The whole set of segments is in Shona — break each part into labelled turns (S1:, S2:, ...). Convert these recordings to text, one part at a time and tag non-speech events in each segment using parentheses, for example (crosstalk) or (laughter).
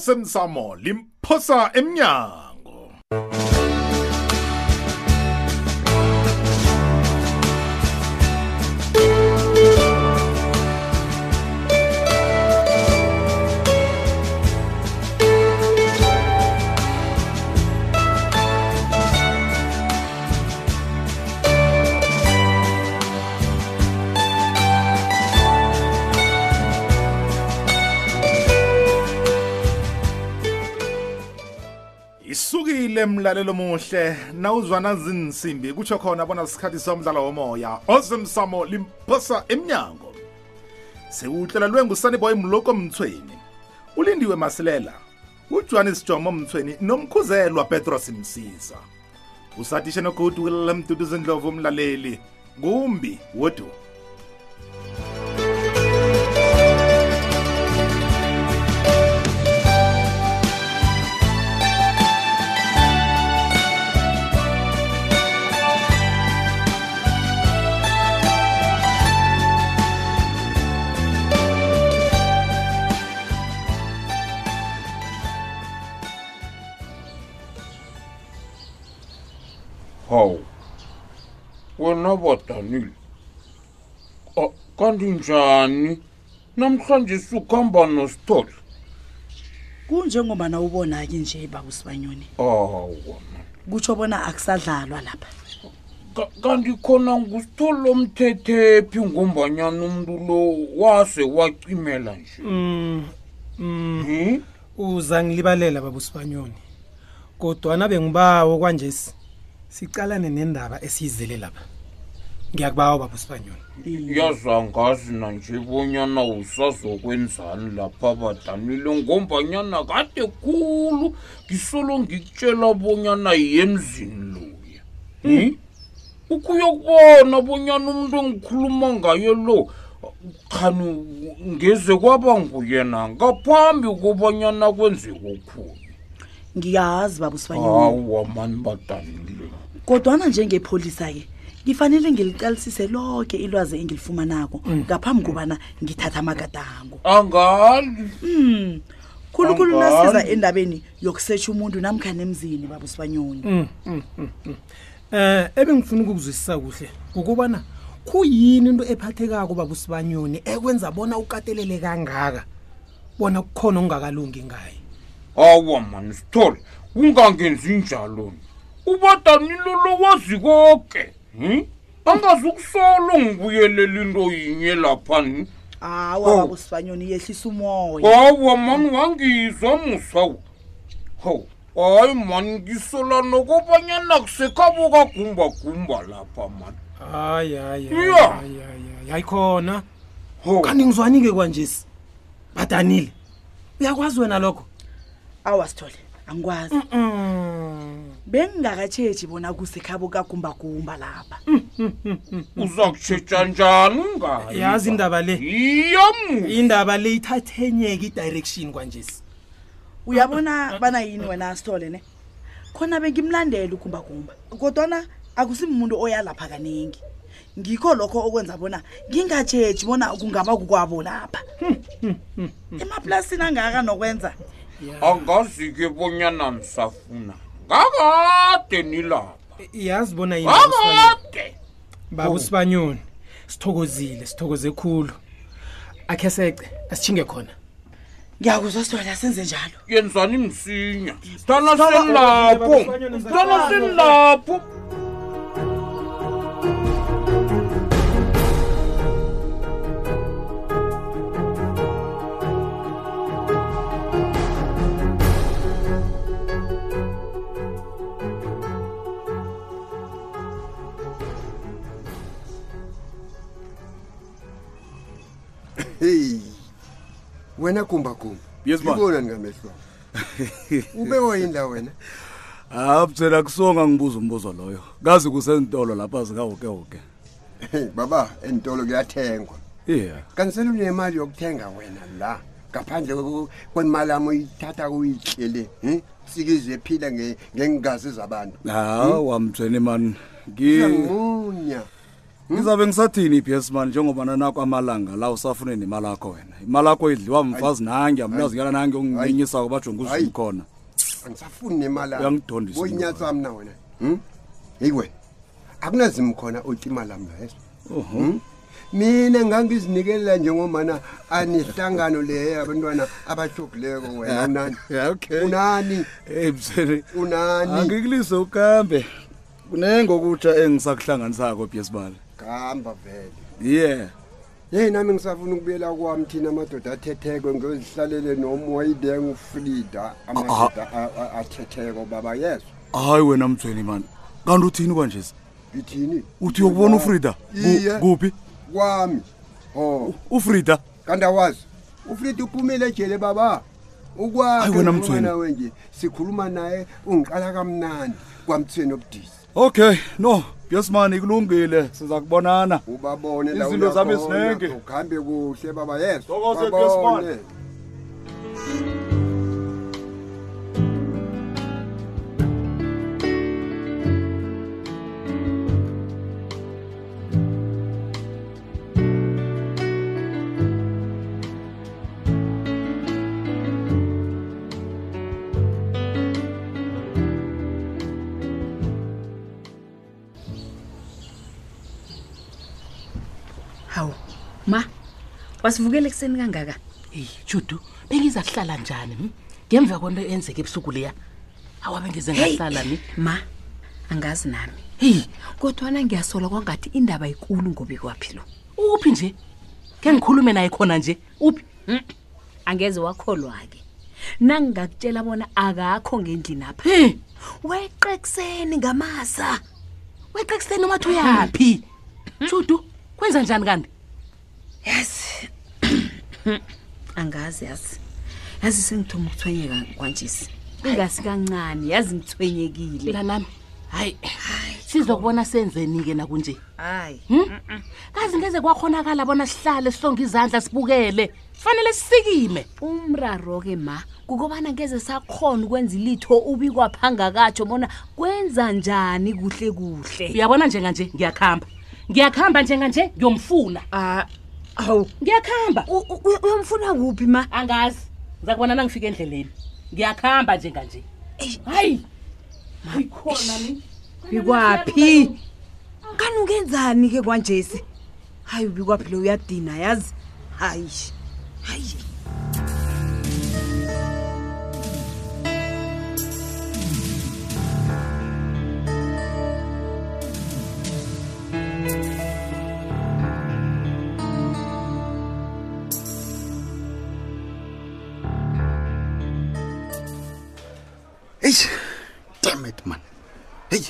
S1: awusemsamo limphosa emnyango isukile mlalelo muhle nawuzwana zinsimbi kutsho khona bona sikhathi somdlalo womoya osemsamo limphosa emnyango siwuhlelelwe ngusaniboy mloko mthweni ulindiwe masilela ujohannes jomo mthweni nomkhuzelwa petros msiza usatishe nogodu wilala mduduzi ndlovu umlaleli kumbi wodu
S2: hawu wena badanile Ka- kanti njani namhlanje sukuhamba nostoli
S3: kunjengobana ubona-ke nje babusibanyoni
S2: awa
S3: kutsho bona akusadlalwa lapha
S2: Ka- kanti khona ngusitoli omthethephi ngombanyana umntu lo wase wacimela nje Hmm?
S4: uza ngilibalela babusibanyoni kodwana bengibawo kwanjesi sicalane nendaba esiyizele lapha ngiyakubawa babusibanyoni
S2: yaza ngazi nanje bonyana usazokwenzani lapha badanile ngombanyana kade khulu ngisolo ngikutshela bonyana yemzini loya Hmm? ukuyokubona bonyana umuntu engikhuluma ngayo lo khani ngeze kwaba nguyena ngaphambi kobanyana kwenzeke okhulu
S3: ngiyazi babusibanyoni
S2: hawa mani badanile
S3: kodwana njengepholisa-ke ngifanele ngiliqalisise lonke ilwazi engilifumanako ngaphambi kobana ngithatha amagadango
S2: angali
S3: khulukhulu
S2: Angani.
S3: nasiza endabeni yokusetshha umuntu namkhani emzini babusibanyoni
S4: Mm. Hmm, um ebengifuna ukukuzwisisa kuhle ngokubana kuyini into ephathekako babusibanyoni ekwenza bona ukatelele kangaka bona kukhona okungakalungi ngaye
S2: hawa mani sithole ungangenzi njalo ubadanilo lowazi koke hmm? angazukusolo ngibuyelela into yinye lapha ni
S3: awa babusibanyoni yehlisa umoya
S2: hawa mani wangizwa musawu hawu hayi mani ngisola nokobanyana kusekhabo kagumbagumba lapha mani
S4: hayi hayi
S2: hayi, Yeah.
S4: hayi hayi khona
S2: hawu
S4: kanti ngizwani-ke kwanjesi badanile uyakwazi wena lokho
S3: awa sithole angikwazi
S4: Mm.
S3: bengingakatshetshi bona kusekhabo kagumbagumba lapha
S2: uza kutshetsa njani ungayi
S4: yazi indaba le
S2: yiyo mu
S4: indaba le ithathenyeke i-direction kwanjesi
S3: uyabona bana yini wena sithole ne khona bengimlandela ugumbagumba kodwana akusimuntu oya lapha kaningi ngikho lokho okwenza bona ngingatshetshi bona kungaba kukwabo lapha emaplasini angaka nokwenza
S2: angazi-ke bonyana msafuna ngakade nilapha
S4: yazi bona yini
S2: akade
S5: Oh.
S4: baba usibanyoni sithokozile sithokoze khulu akhe sece asitshinge khona
S3: ngiyakuzwa sithole asenze njalo
S2: yenzani msinya sithana senilapho sithana senilapho
S6: heyi wena gumbagumba
S7: Yes, man.
S6: ngibona
S7: (laughs)
S6: ningamehlo ubekwa yini la wena
S7: abutshela kusonga ngibuza umbuzo loyo kazi kusentolo lapha zikawokewoke
S6: Hey, baba entolo kuyathengwa
S7: iya
S6: kanisele unemali yokuthenga wena la ngaphandle kwe- kwemali ami uyithatha uyityele um sikize phila nge- ngengazi zabantu Hmm?
S7: hawa mtsheni mani
S6: uyamunya
S7: ngizabe ngisathini ibs man njengoba nanakho amalanga la usafune nemali akho wena imali akho idliwa mfazi nange amnazi ngala nange unginyenyisako bajonge
S6: Hayi.
S7: uzimkhona
S6: angisafuni nemali
S7: Uyangidondisa into
S6: boyinyatsa mna wena hm? heyi wena akunazimi khona utimala mna yeso mina ngangizinikelela njengomana anehlangano leyo yabantwana abashogileko wena
S7: (laughs)
S6: unani
S7: okay
S6: unani
S7: Hey msene.
S6: Unani?
S7: Angikulise ukambe. Kunengokutsha engisakuhlanganisako PS bani.
S6: gamba vele
S7: Yeah.
S6: yeyi nami ngisafuna ukubuyela kwami thina amadoda athetheko ngiyozihlalele nomoyide ngufrida amadoda
S7: Ah,
S6: a- a- athetheko baba yeso
S7: Hayi wena mthweni man. Kanti uthini kanje?
S6: ngithini
S7: Uthi uyokubona uFrida?
S6: iye
S7: Ku- Kuphi?
S6: kwami oh
S7: UFrida.
S6: kanti awazi ufrida uphumile ejele baba
S7: Hayi,
S6: ukwakhe
S7: wena
S6: ngikhuluma
S7: Mthweni.
S6: nawe nje sikhuluma naye ungiqala kamnandi kwamthweni obudisi
S7: Okay, no. PS man ikulungile. Siza kubonana.
S6: ubabone la
S7: Izinto zami
S6: uyakhona,
S7: zinengi.
S6: ukhambe kuhle baba yeso
S7: Thokoze,
S6: babone.
S7: Nkosibani.
S5: hawu
S8: ma wasivukele ekuseni kangaka
S5: eyi judu bengiza kuhlala njani hm? ngemva kwento eyenzeka ebusuku leya awabe ngize ngahlala hm? ni
S8: ma angazi nami
S5: heyi
S8: kodwana ngiyasola kwangathi indaba ikulu ngobi kwaphi lo
S5: uphi nje ke ngikhulume naye khona nje uphi
S8: angeze wakholwa-ke nangingakutshela bona akakho ngendlini apha
S5: he
S8: weqekuseni ngamasa
S5: weqa ekuseni wathi uyaphi judu kwenza njani kanti
S8: yazi angazi yazi yazi sengithoma ukuthwenyeka kwanjesi ingasi kancane yazi ngithwenyekile
S5: mntanami hayi sizokubona senzeni-ke nakunje
S8: hayi
S5: hm? kazi ngeze kwakhonakala bona sihlale sihlonge izandla sibukele fanele sisikime
S8: umraro-ke ma kukobana ngeze sakhona ukwenza ilitho ubikwa phangakatsho bona kwenza njani kuhle kuhle
S5: uyabona njenganje ngiyakuhamba ngiyakuhamba njenganje ngiyomfuna
S8: Ah, hawu
S5: ngiyakuhamba
S8: U- u- u- uyomfuna kuphi ma
S5: angazi ngiza kubona nangifika endleleni ngiyakuhamba njenganje hayi ikhona ni
S8: bikwaphi kani ukenzani-ke kwanjesi hayi ubikwaphi lo uyadina yazi hayi hayi
S9: heyi damn it man heyi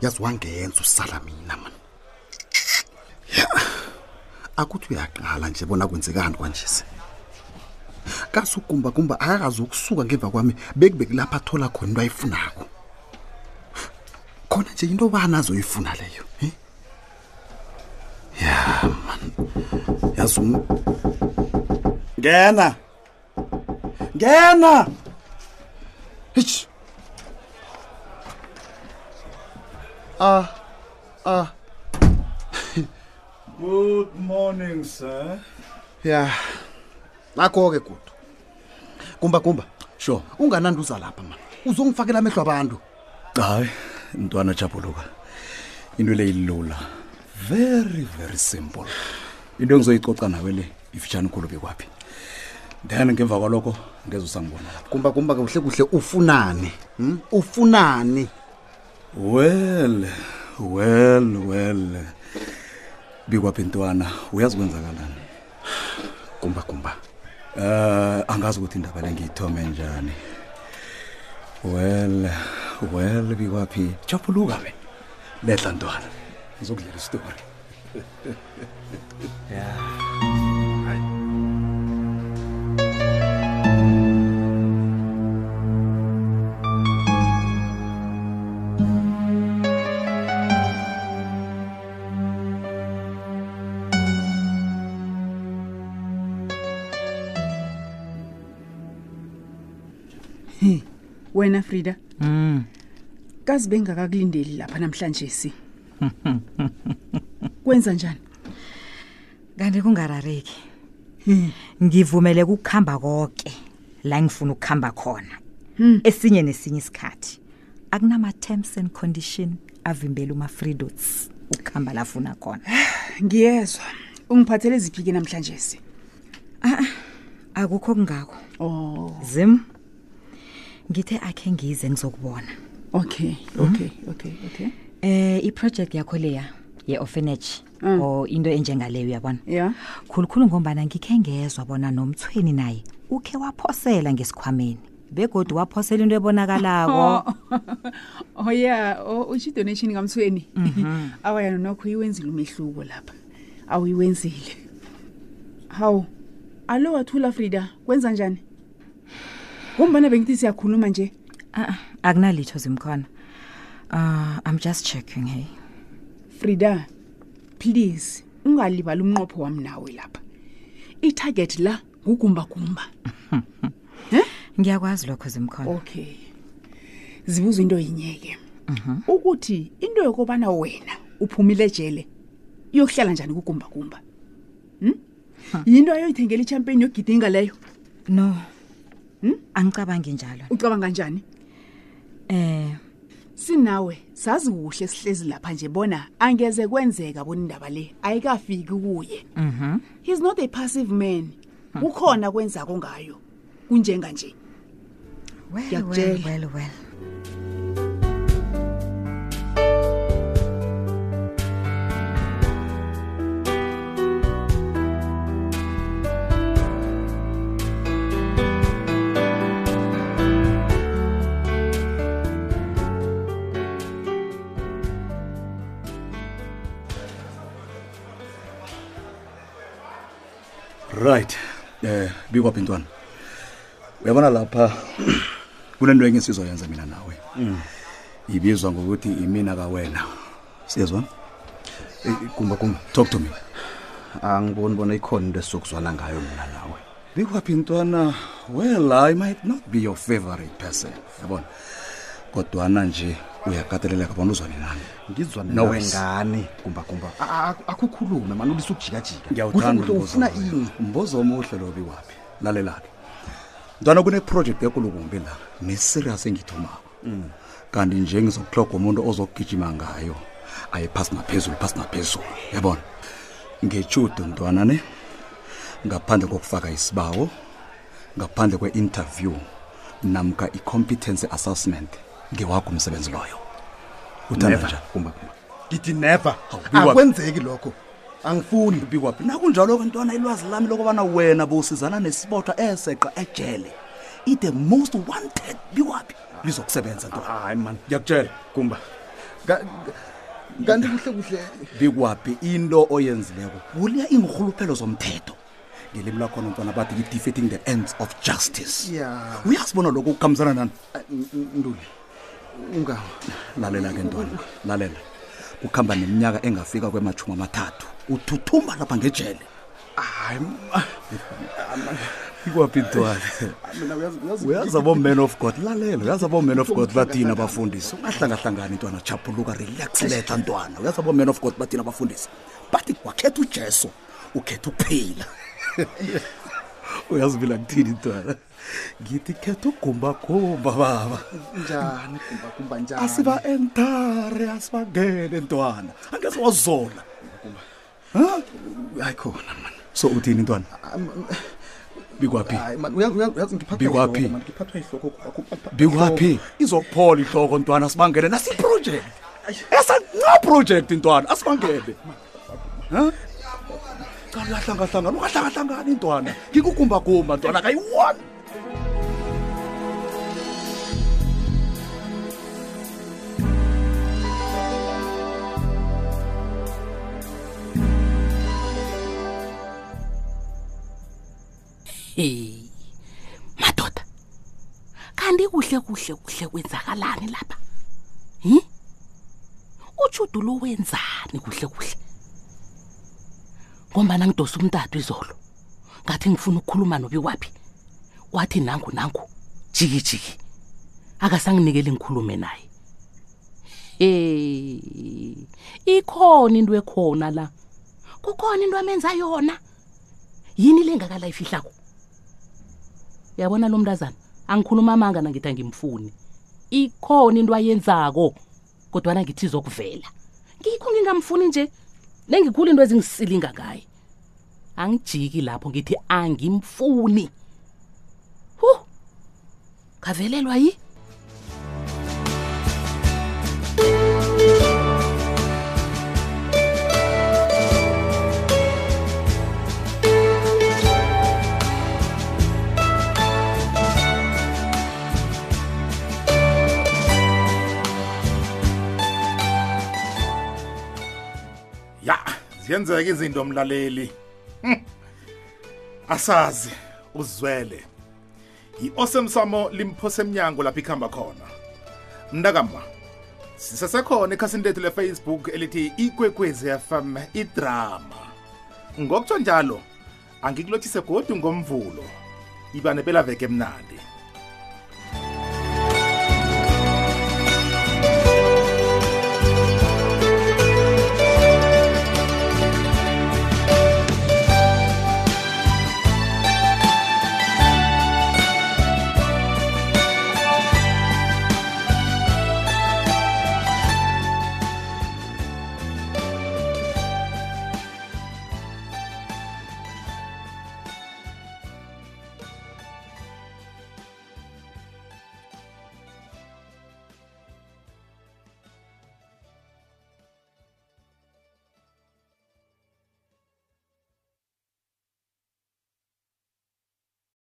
S9: yazi wangenza usala mina man Ya. akuthi uyaqala nje bona kwenzekani kwanjesi kasugumbakumba akakazi ukusuka ngemva kwami bekube kulapha athola khona into ayifunako khona nje into bani azoyifuna leyo eh? ya man yazi um- ngena ngena Hitch.
S7: Good morning sir.
S9: ya nakho-ke gudu kumba kumba
S7: Sure.
S9: unganandi uza lapha mani uzongifakela amehlo abantu
S7: Hayi, mntwana Jabuluka. Into le ilula. Very very simple. Into engizoyicoca nawe le ifitshane kulo bekwapi. Then ngemva kwaloko ngeze usangibona.
S9: kumba kumba kuhle kuhle ufunani hmm? ufunani
S7: Well, well, well. Bikwa Pentwana, uyazi kwenzakalani?
S9: kumba kumba
S7: Eh, angazi ukuthi indaba le ngiyithome njani. Well, well bikwa phi? Chapuluka wena. Letha ntwana. Ngizokudlela istory.
S10: wena frida mm. kazi bengakakulindeli lapha namhlanje si
S3: kwenza njani
S10: kanti kungarareki
S8: Hmm.
S10: ngivumele ukukhamba konke la ngifuna ukukhamba khona
S8: Hmm.
S10: esinye nesinye isikhathi akunama-terms and condition avimbela uma-freedots ukuhamba lafuna khona
S3: ngiyezwa ungiphathele ziphi-ke namhlanje si
S10: akukho kungako
S3: oh
S10: zim ngithe akhe ngize ngizokubona
S3: okay okay okay okay
S10: eh iproject yakho leya ye-orphanage or into enjengaleyo yabona
S3: ya
S10: khulukhulu ngombana ngikhe ngezwa bona nomthweni naye ukhe waphosela ngesikhwameni begodi waphosela into ebonakalako
S11: oh ya utsho idonation kamthweni
S10: Mhm.
S11: (laughs) awayana nokho iwenzile umehluko lapha awuyiwenzile hawu alo wathula frida kwenza njani ngombana bengithi siyakhuluma nje
S10: Ah, ah, akunalitho zimkhona uh, i'm just checking hey
S11: frida please ungalibali umnqopho wami nawe lapha itarget la ngugumbagumba
S10: ngiyakwazi lokho zimkhona
S11: okay zibuza into yinyeke ukuthi into yokubana wena uphumile ejele iyokuhlala njani kugumbagumba hm yinto ayoyithengela ichampagne yogidinga leyo
S10: no angicabangi njalo
S11: ucabanga kanjani
S10: eh
S11: sinawe sazi kuhle sihlezi lapha nje bona angeze kwenzeka bona indaba le ayikafiki kuye he's not a passive man ukhona kwenzako ngayo kunjenga nje
S10: well, well,
S11: Ngiyakutjela.
S10: well, well.
S7: right eh bikwaphi ntwana uyabona lapha kunento enye sizoyenza mina nawe
S9: Mm.
S7: ibizwa ngokuthi imina kawena siyezwa
S9: gumba gumba
S7: talk to me
S9: angiboni bona ikhona into esizokuzwana ngayo mina nawe
S7: bikwaphi ntwana well i might not be your favorite person yabona kodwana nje uyakateleleka bona uzwane nami
S9: ngizwane
S7: No
S9: nawe
S7: worries.
S9: ngani gumbagumba akukhulume mani ulise ukujikajika
S7: ngiyawuthanda
S9: Kusho ukuthi ufuna
S7: umbuzo loyo.
S9: ini
S7: mbuzo omuhle lo bikwaphi lalelake ntwana kuneprojekthi ekulukumbi la neserious engithumako kanti nje ngizokuhloga umuntu ozokugijima ngayo ayiphasi naphezulu phasi naphezulu yabona ngechudo ntwana ne ngaphandle kokufaka isibawo ngaphandle kwe-interview namka i-competency assessment ngewakho umsebenzi loyo uthanda njani
S9: gumbagumba ngithi never
S7: Hawu, biwa-
S9: akwenzeki lokho angifuni
S7: bikwaphi nakunjalo-ke ntwana ilwazi lami lokubana wena bowusizana nesibotha eseqa ejele i-the most wanted bikwaphi lizokusebenza ntwana
S9: hayi mani
S7: ngiyakutshela
S9: gumba Ka- kanti kuhle kuhle
S7: bikwaphi into oyenzileko uliya iinrhuluphelo zomthetho ngelimi lakhona ntwana bathi i-defeating the ends of justice
S9: ya
S7: uyasibona lokho ukukhambisana nani
S9: ntuli unga
S7: lalela ke ntwana lalela kukhamba neminyaka engafika kwemashumi amathathu uthuthumba lapha ngejele
S9: hayi
S7: ikwaphi ntwana
S9: mina uyazi- uyazi-
S7: uyaza boman of god lalela uyaza boman of god bathina abafundisi ungahlangahlangani ntwana chapuluka relaxletha ntwana uyaza boman of god bathina abafundisi bathi wakhetha ujesu ukhetha ukuphila (laughs) uyazi mina kuthini ntwana ngithi khetha ugumbagumba baba
S9: njani gumbagumba njani
S7: asiba entare asibangene ntwana angeze wazola
S9: hayi khona mani
S7: so uthini ntwana bikwaphi
S9: hayi mani uyazi- uyazi uyazi ngiphathwa
S7: Bikwaphi?
S9: yihloko, man. ngiphathwa yihloko
S7: bikwaphi izokuphola ihloko ntwana sibangene nasiprojekthi esancaprojekthi ntwana asibangene Ha? cala uyahlangahlangana ungahlangahlangani ntwana ngikugumbagumba ntwana kayiwani
S5: heyi madoda kanti kuhle kuhle kuhle kwenzakalani lapha hi utshudu lo wenzani kuhle kuhle ngombana ngidosa umntathu izolo ngathi ngifuna ukukhuluma nobi waphi wathi nangu nangu jikijiki akasanginikeli ngikhulume naye he ikhona into ekhona la kukhona into amenza yona yini le ngakala ifihlako yabona lo mntazana angikhuluma amanga nangithi angimfuni ikhona into ayenzako kodwana ngithi izokuvela ngikho ngingamfuni nje nengikhulu into ezingisilinga ngaye angijiki lapho ngithi angimfuni hu kavelelwa yi
S1: ya ziyenzeka izinto mlaleli Hmm. asazi uzwele yi-osemsamo limphose emnyango lapho ikhamba khona mntakama sisesekhona ekhasini lethu lefacebook elithi ikwekwezi fm idrama ngokutsho njalo angikulothise godu ngomvulo iba nepelaveke emnandi